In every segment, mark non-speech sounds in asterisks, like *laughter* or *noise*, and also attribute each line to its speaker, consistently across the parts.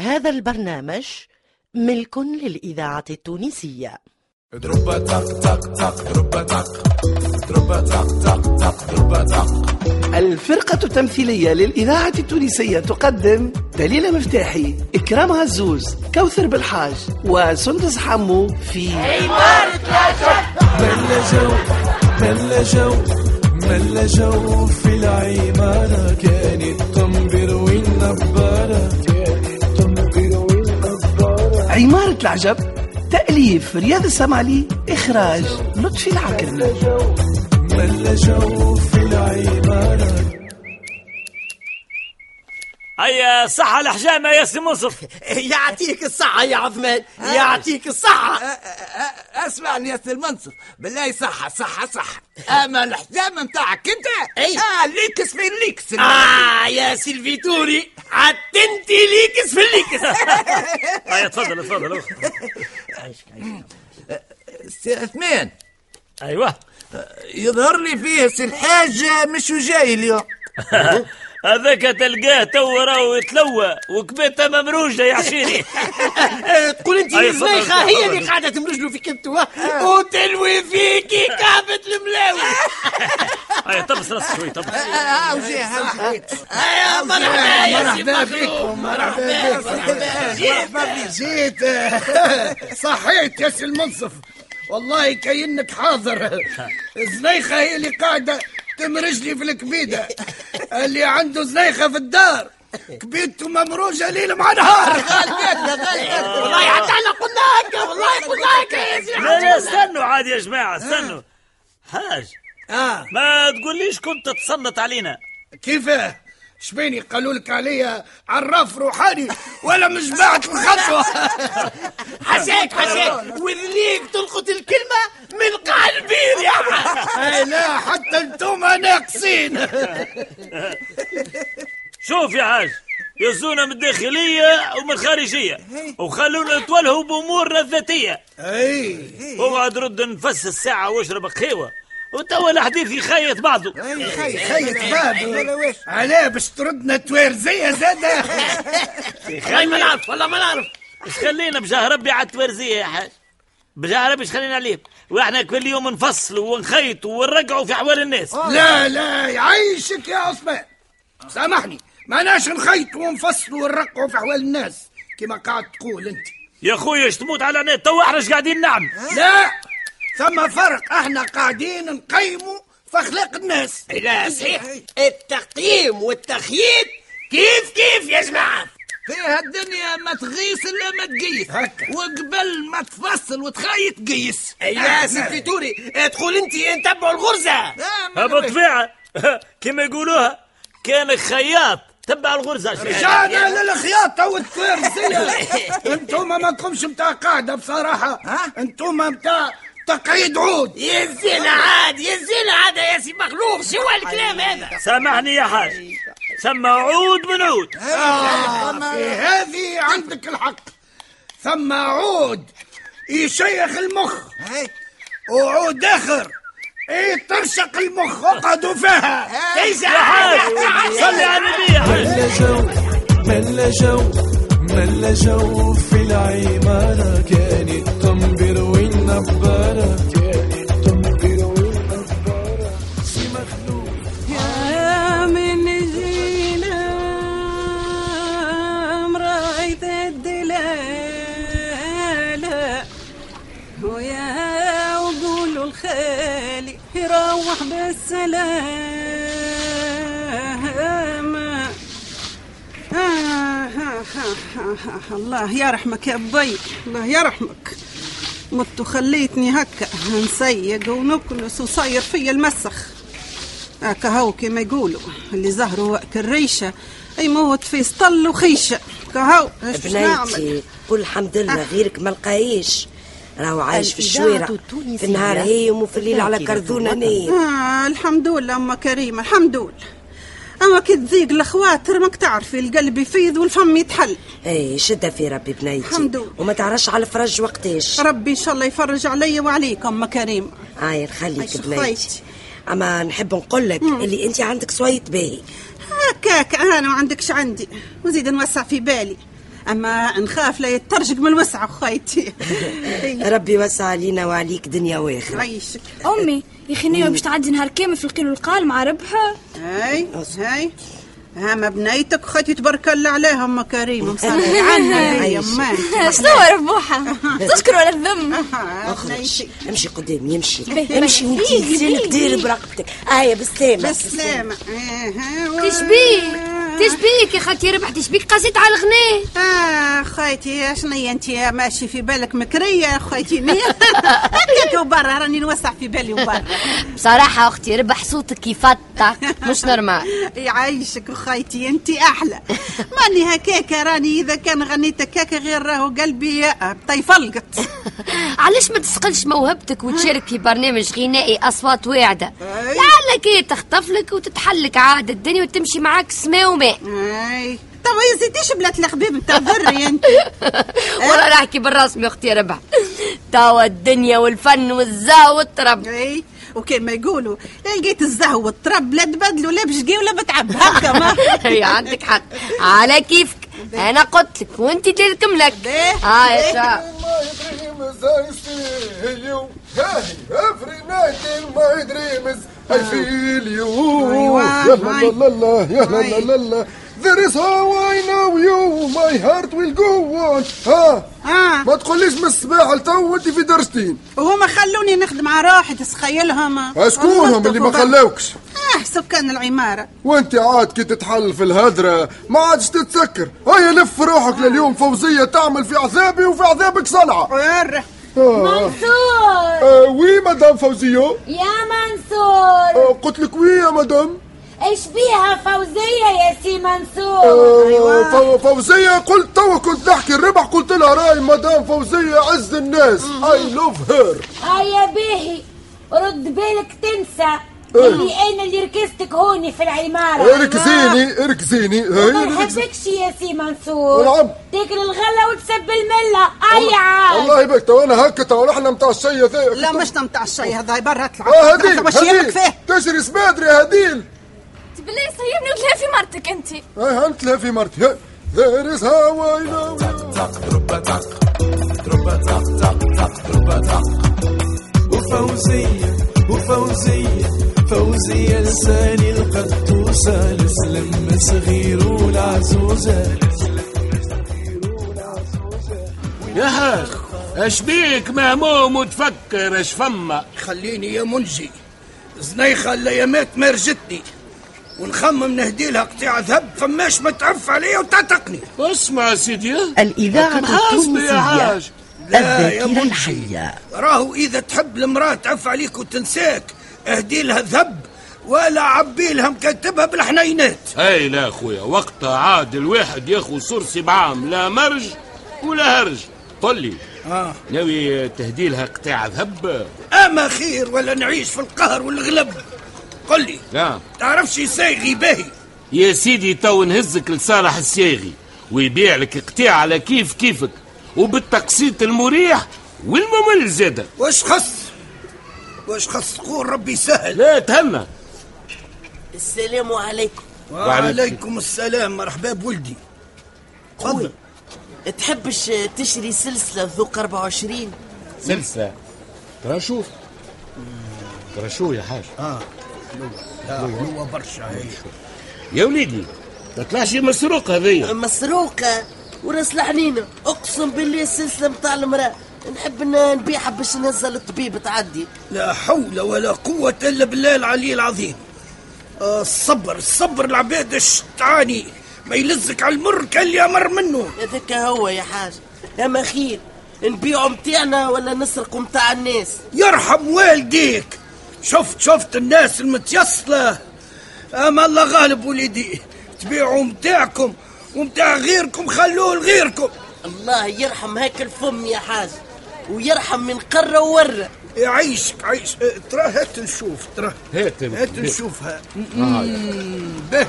Speaker 1: هذا البرنامج ملك للإذاعة التونسية
Speaker 2: دروبة تق تق تق دروبة تق دروبة تق تق تق دروبة تق
Speaker 3: الفرقة التمثيلية للإذاعة التونسية تقدم دليلة مفتاحي إكرام عزوز كوثر بالحاج وسندس حمو في
Speaker 2: ملا جو ملا جو ملا جو في العمارة كانت تنبر والنبارة كانت تنبر والنبارة
Speaker 3: عمارة العجب تأليف رياض السمعلي إخراج لطفي العكرمي
Speaker 2: ملا جو في العمارة
Speaker 4: هيا صحة الحجامة يا سي منصف
Speaker 5: يعطيك الصحة يا عثمان
Speaker 6: آه.
Speaker 5: يعطيك الصحة
Speaker 6: اسمعني يا سي آه، المنصف بالله صحة صحة صحة اما الحزام نتاعك انت
Speaker 5: إي.
Speaker 6: اه ليكس في ليكس
Speaker 5: آه يا سيلفيتوري عتنتي ليكس في *laughs* الليكس
Speaker 4: هيا تفضل تفضل
Speaker 6: سي عثمان
Speaker 4: ايوه
Speaker 6: يظهر لي فيه سي الحاج مش وجاي اليوم
Speaker 4: هذاك تلقاه تو راهو يتلوى وكبته ممروجة يا
Speaker 5: *laughs*
Speaker 4: عشيري
Speaker 5: تقول انت
Speaker 4: أي صدق.
Speaker 5: الزنيخة هي اللي قاعدة تمرجلو في كبتوها وتلوي فيكي كعبة الملاوي
Speaker 4: هيا طبس راسك شوي
Speaker 5: *laughs*
Speaker 4: طبس
Speaker 6: اه وجاي ها وجاي
Speaker 5: يا مرحبا يا سي
Speaker 6: مرحبا
Speaker 5: مخلوق.
Speaker 6: بكم مرحبا مرحبا مرحبا بك.
Speaker 7: جيت *laughs* صحيت يا سي المنصف والله كأنك حاضر زنيخة هي اللي قاعدة تمرج لي في الكبيدة اللي عنده زنيخة في الدار كبيدته ممروجة ليل مع نهار
Speaker 5: والله حتى احنا قلنا هكا والله قلنا هكا يا سي
Speaker 4: لا لا استنوا عاد يا جماعة استنوا حاج
Speaker 7: آه
Speaker 4: ما تقوليش كنت تتسلط علينا
Speaker 7: كيفاه شبيني قالوا لك عليا عراف روحاني ولا مش بعت الخطوة
Speaker 5: حساك حساك وذليك تلقط الكلمة من قلبي يا عم
Speaker 7: أي لا حتى انتم ناقصين
Speaker 4: شوف يا حاج يزونا من الداخلية ومن الخارجية وخلونا نتولهوا بأمورنا الذاتية
Speaker 7: أي
Speaker 4: اقعد رد نفس الساعة واشرب خيوة وتوا الحديث يخيط بعضه
Speaker 7: إيه، خيط باب علاه باش تردنا توارزية زادة
Speaker 5: خاي ما نعرف والله ما نعرف
Speaker 4: ايش خلينا بجاه ربي على التوارزية يا حاج بجاه ربي ايش خلينا عليهم واحنا كل يوم نفصلوا ونخيطوا ونرجعوا في احوال الناس
Speaker 7: لا لا يعيشك إيه، يا عثمان سامحني معناش نخيط ونفصل ونرقعوا في احوال الناس كما قاعد تقول انت
Speaker 4: يا خويا ايش تموت على نت تو احنا ايش قاعدين نعمل
Speaker 5: أه؟
Speaker 7: لا ثم فرق احنا قاعدين نقيموا في اخلاق الناس
Speaker 5: لا صحيح التقييم والتخييط كيف كيف يا جماعه
Speaker 6: فيها الدنيا ما تغيس الا ما تقيس
Speaker 7: هكا.
Speaker 6: وقبل ما تفصل وتخيط قيس
Speaker 5: إيه،
Speaker 6: أه.
Speaker 5: يا سي فيتوري تقول انت نتبعوا الغرزه
Speaker 6: آه، ما نبيش.
Speaker 4: بطبيعة *laughs* كما يقولوها كان خياط تبع الغرزة
Speaker 7: رجعنا للخياطة والتوارزية انتوما ما تقومش متاع قاعدة بصراحة انتوما متاع تقعيد عود
Speaker 5: يا الزين عاد يا الزين عاد يا سي مخلوق شو الكلام هذا
Speaker 4: سامحني يا حاج سمى عود من عود
Speaker 7: في آه. إيه، هذه عندك الحق ثم عود يشيخ المخ
Speaker 6: هاي.
Speaker 7: وعود اخر ايه ترشق المخ اقعدوا فيها
Speaker 5: ليس
Speaker 4: يا حاج
Speaker 5: عاد
Speaker 4: صلي على النبي يا حاج
Speaker 2: ملا جو ملا جو ملا جو في العمارة كانت تنبر والنبارة كانت تنبر والنبارة سي مخلوق
Speaker 8: من جينا رايت الدلالة ويا وقول الخالي يروح بالسلامة آه ها ها ها ها ها. الله يرحمك يا بي الله يرحمك مت خليتني هكا نسيق ونكنس وصاير فيا المسخ هكا هو كما يقولوا اللي زهره وقت الريشه يموت في سطل وخيشه كهو اش باش نعمل
Speaker 9: بنيتي قول الحمد لله غيرك ما لقايش راهو عايش في
Speaker 1: الإذاعة
Speaker 9: الشوارع
Speaker 1: التونسية
Speaker 9: في النهار هيم وفي الليل على
Speaker 1: ذاكرة
Speaker 9: كرذونه
Speaker 1: الوطن.
Speaker 9: نايم
Speaker 8: آه الحمد لله أم كريمة الحمد لله أما كي تضيق الخواتر ماك تعرفي القلب يفيض والفم يتحل
Speaker 9: اي شده إيه، في ربي
Speaker 8: الحمد
Speaker 9: بنيتي
Speaker 8: لله.
Speaker 9: وما تعرفش على الفرج وقتاش
Speaker 8: ربي إن شاء الله يفرج علي وعليك أم كريمة
Speaker 9: هاي
Speaker 8: عايشة
Speaker 9: نخليك
Speaker 8: خايتي.
Speaker 9: بنيتي اما نحب نقول لك اللي انت عندك صويت باهي
Speaker 8: هكاك أنا ما عندكش عندي وزيد نوسع في بالي اما نخاف لا يترجق من الوسعه خايتي
Speaker 9: ربي وسع علينا وعليك دنيا واخره
Speaker 8: *laughs* عيشك
Speaker 10: امي يخنيها باش تعدي نهار كامل في القيل والقال مع *laughs* ربحها
Speaker 8: هاي هاي هما بنيتك خايتي تبارك الله عليها ام كريم مصلي عنها هي
Speaker 9: عيشك.
Speaker 8: امك
Speaker 10: شنو ربوحه تشكر ولا الذم
Speaker 9: اخرج امشي قدامي امشي
Speaker 10: بيه.
Speaker 9: امشي وانت
Speaker 10: بيه، بيه.
Speaker 9: لسانك داير برقبتك هيا بالسلامه
Speaker 8: بالسلامة
Speaker 10: تشبيك تشبيك يا خالتي ربح تشبيك قصيت على الغناء
Speaker 8: آه خايتي شنو هي انت ماشي في بالك مكرية *laughs* خايتي نية هكاك وبرا راني نوسع في بالي وبرا
Speaker 11: بصراحة أختي ربح صوتك يفتح مش نورمال *laughs*
Speaker 8: يعيشك وخايتي انت احلى ماني هكاك راني اذا كان غنيت هكاك غير راهو قلبي آه، طيفلقت
Speaker 11: علاش ما تسقلش موهبتك وتشارك في برنامج غنائي أصوات واعدة
Speaker 8: أي.
Speaker 11: لعلك إيه تخطف لك وتتحلك عاد الدنيا وتمشي معاك سما وماء
Speaker 8: اي طب ما يزيديش بلاد الخبيب نتاع ذري انت
Speaker 11: والله نحكي بالرسمي أختي ربح توا الدنيا والفن والزا *laughs* والطرب
Speaker 8: اي وكان ما يقولوا لا لقيت الزهو والطرب لا تبدلوا لا بشقي ولا بتعب هكا ما
Speaker 9: *laughs*
Speaker 11: هي عندك حق على كيفك أنا قلت لك وأنت تلك ملك
Speaker 8: بيه.
Speaker 11: هاي شا.
Speaker 5: ما يدري مز اليوم هاي افري نادي ما يدري مز في اليوم
Speaker 8: أيوة،
Speaker 5: يا لا
Speaker 8: هاي.
Speaker 5: لا لا يا لا
Speaker 8: هاي.
Speaker 5: لا لا There is how I know you My heart will go on ها
Speaker 8: آه.
Speaker 5: ما تقوليش من الصباح لتو انت في درجتين
Speaker 8: وهما خلوني نخدم على روحي تسخيلهم
Speaker 5: اسكونهم اللي ما خلاوكش
Speaker 8: اه سكان العماره
Speaker 5: وانت عاد كي تتحل في الهدرة ما عادش تتسكر هيا لف روحك لليوم فوزية تعمل في عذابي وفي عذابك صلعة
Speaker 8: ورا.
Speaker 5: آه.
Speaker 10: منصور
Speaker 5: آه وي مدام فوزية
Speaker 10: يا منصور
Speaker 5: آه قلت لك وي يا مدام
Speaker 10: ايش بيها فوزيه يا سي منصور
Speaker 8: أيوة.
Speaker 5: آه فو- فوزية قلت توا كنت نحكي الربح قلت لها راي مدام فوزية عز الناس اي لوف هير
Speaker 10: هيا باهي رد بالك تنسى
Speaker 5: إيه.
Speaker 10: اللي انا اللي ركزتك هوني في العماره
Speaker 5: اركزيني اركزيني
Speaker 7: إيه،
Speaker 10: ما
Speaker 5: هاي ركزي.
Speaker 10: نحبكش يا سي منصور
Speaker 5: نعم.
Speaker 10: تاكل الغله وتسب المله اي عاد
Speaker 5: الله يبارك تو انا هكا تو احنا متاع الشيء ذا
Speaker 8: لا مش نمتع الشيء هذا برا اطلع
Speaker 7: آه،
Speaker 5: اه
Speaker 8: اطلع
Speaker 5: هديل
Speaker 8: باش يهلك
Speaker 5: هديل
Speaker 8: فيه
Speaker 5: تجري سبادري هديل
Speaker 10: بلي سيبني وتلاقي في مرتك انت
Speaker 5: اه انت لها في مرتي هاي. There is how I know you.
Speaker 4: وفوزية وفوزية فوزية لساني القطوسة السلم صغير والعزوزة
Speaker 12: يا هاج اش بيك مهموم وتفكر اش فما
Speaker 7: خليني يا منجي زنيخة الايامات ما رجتني ونخمم نهديلها قطيع ذهب فماش ما تعف عليا وتعتقني
Speaker 12: اسمع سيدي
Speaker 1: الإذاعة
Speaker 12: لكن حاسبة يا
Speaker 1: التونسية
Speaker 12: حاج.
Speaker 7: لا يا
Speaker 1: الذاكرة
Speaker 7: منجي
Speaker 1: الحية
Speaker 7: راهو اذا تحب المراه تعف عليك وتنساك اهديلها ذهب ولا عبيلها مكتبها بالحنينات
Speaker 12: هاي لا خويا وقتها عاد الواحد ياخو سرسي بعام لا مرج ولا هرج قل لي
Speaker 7: آه.
Speaker 12: ناوي تهديلها قطاع ذهب
Speaker 7: اما خير ولا نعيش في القهر والغلب قل لي
Speaker 12: لا
Speaker 7: تعرفش صيغي باهي
Speaker 12: يا سيدي تو نهزك لصالح السياغي ويبيع لك قطيع على كيف كيفك وبالتقسيط المريح والممل زاده
Speaker 7: واش خص واش خص قول ربي سهل
Speaker 12: لا تهنى
Speaker 9: السلام عليكم
Speaker 7: وعليكم السلام مرحبا بولدي تفضل
Speaker 9: تحب تشري سلسله ذوق 24
Speaker 12: سلسله ترى شوف ترى شو يا حاج
Speaker 7: آه. هو برشا هي
Speaker 12: يا وليدي ما طلعش مسروق هذيا
Speaker 9: مسروقه وراس العنينه اقسم بالله السلسله متاع المراه نحب ن- نبيعها باش نهزها للطبيب تعدي
Speaker 7: لا حول ولا قوة إلا بالله العلي العظيم آه، الصبر الصبر العباد اش تعاني ما يلزك على المر كل يمر منه
Speaker 9: هذاك هو يا حاج اما خير نبيعوا متاعنا ولا نسرقوا متاع الناس
Speaker 7: يرحم والديك شفت شفت الناس المتيصلة أما الله غالب وليدي تبيعوا متاعكم ومتاع غيركم خلوه لغيركم
Speaker 9: الله يرحم هاك الفم يا حاج ويرحم من قرة وورة
Speaker 7: يعيشك عيش آه، ترى هات نشوف ترى
Speaker 12: هات آه، يا
Speaker 7: هات
Speaker 12: بيه.
Speaker 7: نشوفها مم، به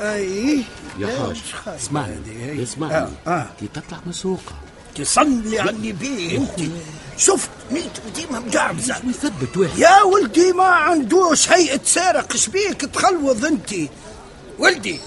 Speaker 7: اي
Speaker 12: يا حاج اسمعني اسمعني
Speaker 7: آه، آه.
Speaker 12: كي تطلع مسروقه
Speaker 7: تصلي على النبي انت شفت ميت ديما مجعبزه
Speaker 12: ويثبت واحد
Speaker 7: يا ولدي ما عندوش هيئة سارق شبيك تخلوض انت ولدي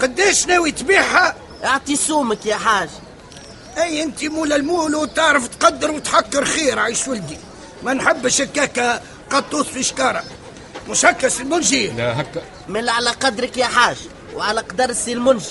Speaker 7: قداش ناوي تبيعها
Speaker 9: اعطي سومك يا حاج
Speaker 7: اي انت مول المول وتعرف تقدر وتحكر خير عيش ولدي ما نحبش هكاكا قطوس في شكاره مش هكا سي المنجي
Speaker 12: لا هكا
Speaker 9: مل على قدرك يا حاج وعلى قدر السي المنجي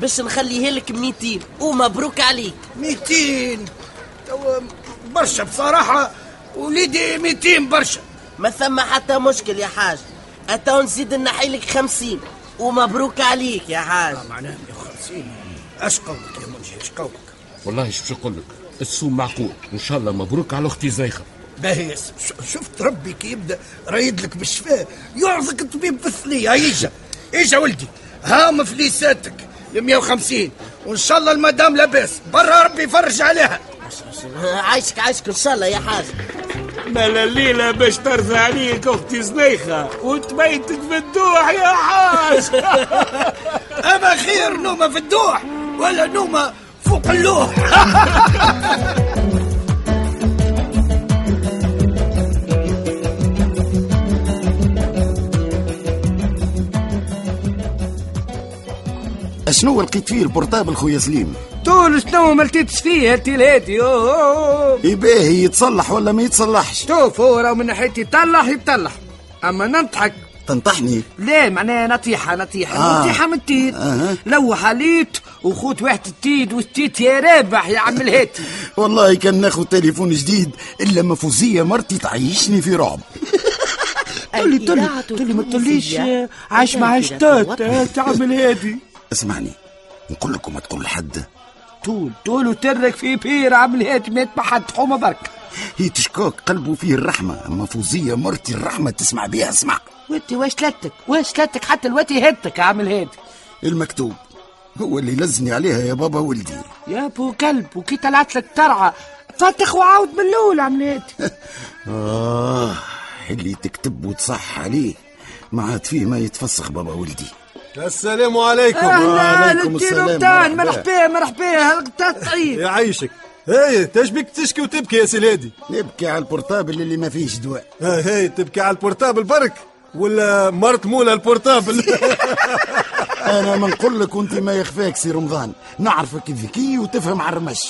Speaker 9: باش نخليه لك 200 ومبروك عليك
Speaker 7: 200 برشا بصراحه وليدي 200 برشا
Speaker 9: ما ثم حتى مشكل يا حاج اتو نزيد نحيلك 50 ومبروك عليك يا حاج
Speaker 7: آه، معناها 150 اش قولك يا منجي اش قولك
Speaker 12: والله شو نقول لك السوم معقول وان شاء الله مبروك على اختي زيخه
Speaker 7: باهي ش- شفت ربي كي يبدا رايد لك بالشفاء يعرضك الطبيب بالثنيه ايجا ايجا ولدي ها مفليساتك ال 150 وان شاء الله المدام لاباس برا ربي يفرج عليها
Speaker 9: عايشك عايشك ان شاء الله يا حاج
Speaker 12: مال الليلة باش ترضى عليك أختي زنيخة وتبيتك في الدوح يا حاج
Speaker 7: اما خير نومه في الدوح ولا نومه فوق اللوح
Speaker 13: شنو لقيت فيه البورتابل خويا سليم
Speaker 14: طول شنو ما لقيتش فيه التيلاتي
Speaker 13: يباهي يتصلح ولا ما يتصلحش
Speaker 14: شوف هو راهو من ناحيتي يطلح يطلح اما ننطحك
Speaker 13: تنطحني
Speaker 14: لا معناها نطيحة نطيحة
Speaker 13: آه.
Speaker 14: نطيحة من التيد
Speaker 13: أها.
Speaker 14: لو حليت وخوت واحد التيد والتيت يا رابح يا عم الهاتي
Speaker 13: *laughs* والله كان ناخذ تليفون جديد الا مفوزيه مرتي تعيشني في رعب
Speaker 14: تولي تولي تولي ما تقوليش عاش مع شتات تعمل هادي
Speaker 13: اسمعني نقول لك وما تقول لحد
Speaker 14: طول طول وترك في بير عم الهاتي مات ما حد حومه برك
Speaker 13: هي تشكاك قلبه فيه الرحمه اما فوزيه مرتي الرحمه تسمع بيها اسمع
Speaker 14: وانت واش لتك واش لتك حتى الوتي هاتك عامل هادي
Speaker 13: المكتوب هو اللي لزني عليها يا بابا ولدي
Speaker 14: يا بو كلب وكي طلعت لك ترعى فتخ وعاود من الاول عملات
Speaker 13: اه اللي تكتب وتصح عليه ما عاد فيه ما يتفسخ بابا ولدي
Speaker 15: السلام عليكم
Speaker 14: اهلا الدينو بتاعن
Speaker 15: مرحبا.
Speaker 14: مرحبا مرحبا هلقتا طيب
Speaker 15: يعيشك هاي تشبك إيه، تشكي وتبكي يا سيلادي
Speaker 13: نبكي على البورتابل اللي ما فيهش دواء
Speaker 15: هاي تبكي على البورتابل برك ولا مرت مولا البورتابل
Speaker 7: *laughs*
Speaker 13: انا ما نقول لك وانت ما يخفاك سي رمضان نعرفك ذكي وتفهم على الرمش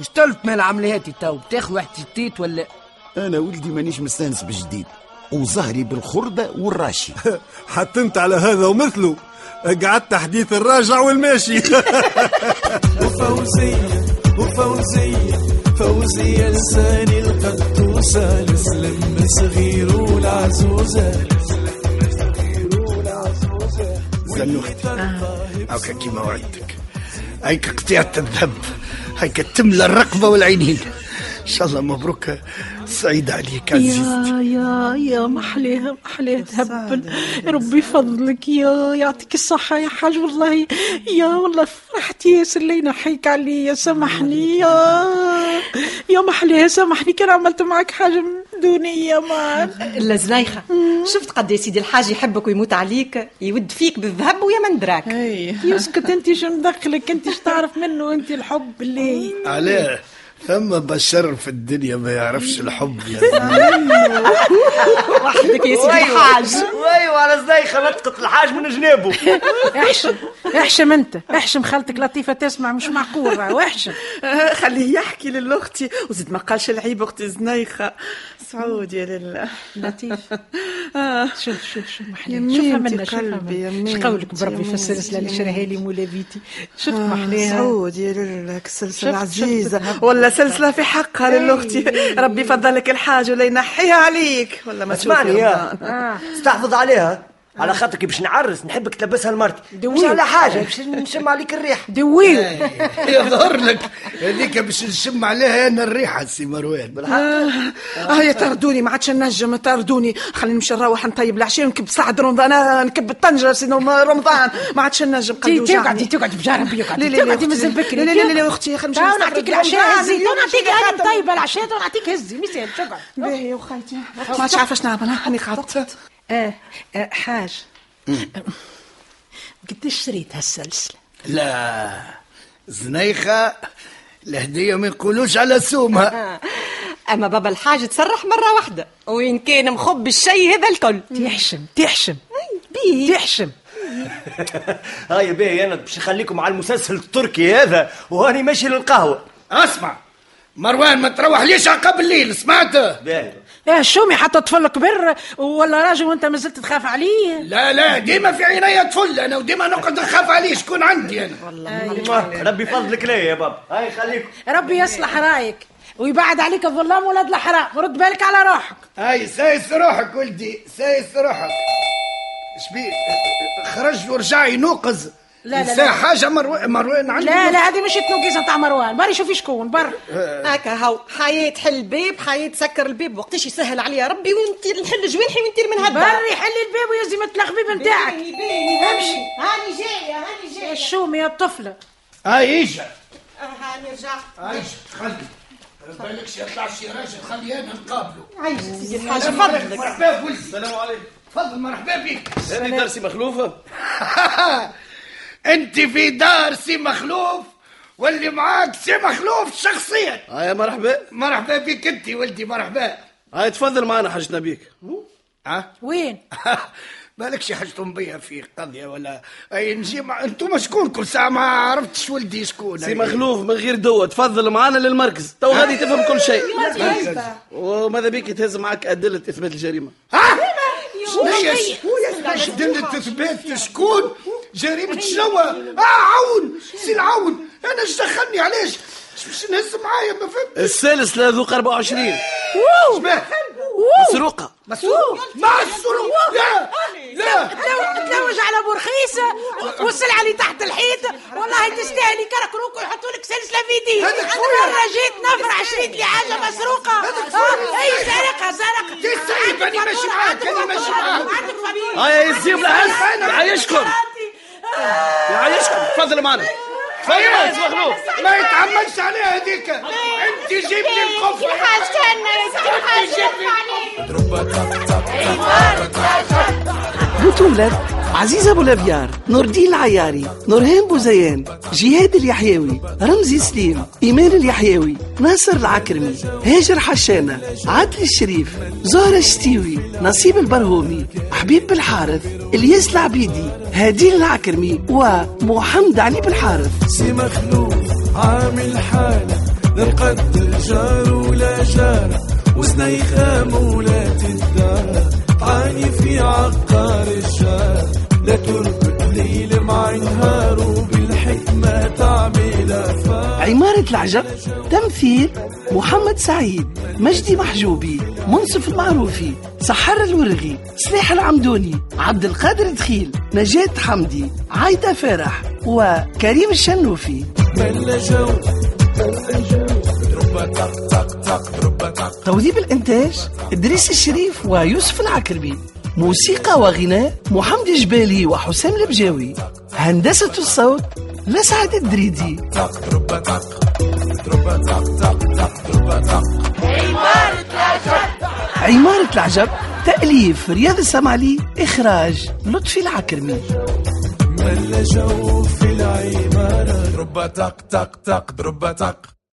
Speaker 14: اش تلت مال عملياتي تو بتاخذ واحد تيت ولا
Speaker 13: انا ولدي مانيش مستانس بالجديد وظهري بالخرده والراشي
Speaker 15: *laughs* حتى انت على هذا ومثله
Speaker 7: *laughs*
Speaker 15: قعدت حديث الراجع والماشي
Speaker 2: *laughs* وفوزية وفوزية فوزية لساني القدوسة السلم الصغير والعزوزة
Speaker 7: زنوخت هاكا كيما وعدتك هيك قطيعة الذهب هيك تملى الرقبة والعينين إن شاء الله مبروك سعيد عليك عزيز
Speaker 16: يا يا يا محليها محليها تهبل ربي يفضلك يا يعطيك الصحة يا حاج والله يا والله فرحت ياسر اللي نحيك عليا سامحني يا يا محليها سامحني كان عملت معك حاجة دونية ما
Speaker 17: لا زنايخة شفت قد يا سيدي الحاج يحبك ويموت عليك يود فيك بالذهب ويا من دراك
Speaker 16: يسكت انت شو مدخلك انت شو تعرف منه انت الحب اللي
Speaker 7: عليه ثم بشر في الدنيا ما يعرفش الحب يا زلمة.
Speaker 17: وحدك يا سيدي
Speaker 18: ويو.
Speaker 17: الحاج
Speaker 18: ويو على زنيخة نطقت الحاج من جنابه
Speaker 16: احشم احشم انت احشم خالتك لطيفة تسمع مش معقول راه، واحشم
Speaker 18: آه، خليه يحكي للاختي وزد ما قالش العيب اختي زنيخه سعود يا لله
Speaker 16: لطيف شوف شوف شوف
Speaker 18: يا
Speaker 16: محليها شوفها
Speaker 18: ميمتي
Speaker 16: منا شوفها
Speaker 18: قلبي، يا
Speaker 16: منا
Speaker 18: ميمتي،
Speaker 16: شو قولك
Speaker 18: يا
Speaker 16: بربي في
Speaker 18: ميمتي،
Speaker 16: السلسلة اللي
Speaker 18: يا
Speaker 16: شراها لي مولا بيتي شفت
Speaker 18: آه،
Speaker 16: محليها
Speaker 18: سعود يا لله سلسلة
Speaker 16: شفت- إيه. شفت
Speaker 18: عزيزة
Speaker 16: الهبة.
Speaker 18: ولا سلسلة في حقها للأختي ربي فضلك الحاج ولا ينحيها عليك ولا ما
Speaker 6: اسمعني
Speaker 18: تشوفي
Speaker 6: يا
Speaker 18: رمضان. آه.
Speaker 6: استحفظ عليها على خاطرك باش نعرس نحبك تلبسها لمرتي مش على حاجه باش نشم عليك الريح
Speaker 16: دويل
Speaker 7: يظهر لك هذيك باش نشم عليها انا الريحه سي مروان
Speaker 18: آه. اه يا طردوني ما عادش نجم طردوني خلينا نمشي نروح نطيب العشاء ونكب سعد رمضان آه، نكب الطنجره سي رمضان ما عادش نجم قلبي
Speaker 16: تقعدي-
Speaker 18: وجعني.
Speaker 16: تقعدي بجربي،
Speaker 18: لا،
Speaker 16: يقعدي-
Speaker 18: لا، لا،
Speaker 16: تقعدي
Speaker 18: أختي.
Speaker 16: مازال بكري،
Speaker 18: لا لا لا لا
Speaker 16: تقعدي.
Speaker 18: اختي خلينا نمشي
Speaker 16: تعالوا
Speaker 18: نستحضر
Speaker 16: نعطيك العشاء
Speaker 18: رمضان.
Speaker 16: هزي
Speaker 18: اليوم
Speaker 16: نعطيك
Speaker 18: نمشي
Speaker 16: انا
Speaker 18: نخدم.
Speaker 16: طيبه العشاء ونعطيك هزي مثال شكرا
Speaker 18: باهي يا وخيتي ما عادش عارفه شنو نعمل هاني قعدت
Speaker 16: اه آه، حاج قديش شريت هالسلسله؟
Speaker 7: لا زنيخه الهديه ما يقولوش على سومها
Speaker 17: اما بابا الحاج تصرح مره واحده وين كان مخب الشي هذا الكل
Speaker 16: تحشم تحشم تحشم
Speaker 19: هاي باهي انا باش نخليكم على المسلسل التركي هذا وهاني ماشي للقهوه
Speaker 7: اسمع مروان ما تروح ليش عقب الليل سمعت
Speaker 16: يا شومي حتى طفل كبر ولا راجل وانت مازلت تخاف عليه
Speaker 7: لا لا ديما في عينيا تفل انا وديما نقعد نخاف عليه شكون عندي انا
Speaker 18: آه،
Speaker 7: والله
Speaker 19: ربي فضلك ليا يا بابا هاي خليكم
Speaker 16: ربي يصلح رايك ويبعد عليك الظلام ولاد الحرام رد بالك على روحك
Speaker 7: هاي سايس روحك ولدي سايس روحك شبيه خرج ورجع ينوقز
Speaker 16: لا، لا،
Speaker 7: نسى
Speaker 16: لا.
Speaker 7: حاجه مروان مروان عندي
Speaker 16: لا لا هذه مش تنوكيزة تاع مروان بري شوفي شكون برا
Speaker 17: هكا هاو حياة حل الباب حياة سكر الباب وقتاش يسهل عليها ربي وانت نحل جوانحي ونطير من هدا
Speaker 16: بري حل الباب ويزي مثل الخبيب نتاعك
Speaker 17: باهي، باهي، باهي.
Speaker 16: امشي
Speaker 17: هاني جاية، هاني جاية. آه،
Speaker 16: الشومي يا الطفله
Speaker 7: هاي اجا
Speaker 17: هاني رجعت
Speaker 7: هاي تخلي بالك شي يطلع شي راجل خلي انا نقابله
Speaker 17: عايش سيدي الحاج
Speaker 7: تفضل
Speaker 17: تفضل
Speaker 7: مرحبا ولدي السلام عليكم تفضل مرحبا بك
Speaker 19: هذه درسي
Speaker 7: *laughs*
Speaker 19: مخلوفه
Speaker 7: انت في دار سي مخلوف واللي معاك سي مخلوف شخصيا
Speaker 20: هاي آه، مرحبا
Speaker 7: مرحبا بك انت ولدي مرحبا
Speaker 20: هاي تفضل معنا حاجتنا بيك
Speaker 7: ها
Speaker 16: وين
Speaker 7: *laughs* مالكش حاجتهم بيا في قضيه ولا اي نجي مع... انتم شكون كل ساعه ما عرفتش ولدي شكون
Speaker 20: سي مخلوف من غير دوا تفضل معنا للمركز تو غادي تفهم كل شيء
Speaker 7: مركز.
Speaker 20: وماذا بيك تهز معك أدلة إثبات الجريمة
Speaker 7: دلة اثبات شكون جريمة شنو اه عون سي العون انا اش دخلني علاش اش باش نهز معايا ما فهمت
Speaker 20: السالس لا ذوق 24
Speaker 7: شباه؟
Speaker 20: مسروقة
Speaker 7: مسروق مع السروق لا لا
Speaker 16: تلوج على بورخيسه والسلعه اللي تحت الحيط والله تستاهل يكركروك ويحطوا لك سلسله في يديك
Speaker 7: هذاك
Speaker 16: انا
Speaker 7: خويا.
Speaker 16: مره جيت نفر عشرين لي حاجه مسروقه
Speaker 7: هذاك خويا.
Speaker 16: آه، اي سرقه سرقه
Speaker 7: يا سيب انا ماشي معاك انا ماشي معاك آه،
Speaker 20: هيا يا الزيب العز يعيشكم يعيشكم تفضل معنا تفضل يا سي مخلوف
Speaker 7: ما يتعملش عليها هذيك انت جيب لي القفة انت جيب لي
Speaker 3: بطولة عزيزة أبو لافيار نور الدين العياري نورهان بوزيان جهاد اليحيوي رمزي سليم إيمان اليحيوي ناصر العكرمي هاجر حشانة عادل الشريف زهرة الشتيوي نصيب البرهومي حبيب بالحارث الياس العبيدي هادين العكرمي ومحمد علي بالحارث
Speaker 2: سي مخلوف عامل حالة لا مقدر جار ولا جارة وزنيخة مولاة الدار تعاني في عقار الشارع لا تربط ليل مع نهار وبالحكمة تعمل أفكار
Speaker 3: عمارة العجب تمثيل محمد سعيد مجدي محجوبي منصف المعروفي سحر الورغي سلاح العمدوني عبد القادر دخيل نجاة حمدي عايدة فرح وكريم الشنوفي
Speaker 2: بلا جو بلا جو ضربة طق طق طق ضربة طق
Speaker 3: توذيب الإنتاج إدريس الشريف ويوسف العكربي موسيقى وغناء محمد جبالي وحسام البجاوي هندسة الصوت لسعد الدريدي
Speaker 2: طق ضربة طق ضربة طق طق طق ضربة طق
Speaker 3: عمارة العجب تأليف رياض السمعلي إخراج لطفي العكرمي
Speaker 2: بلا جو في العمارة ضربة طق طق طق ضربة طق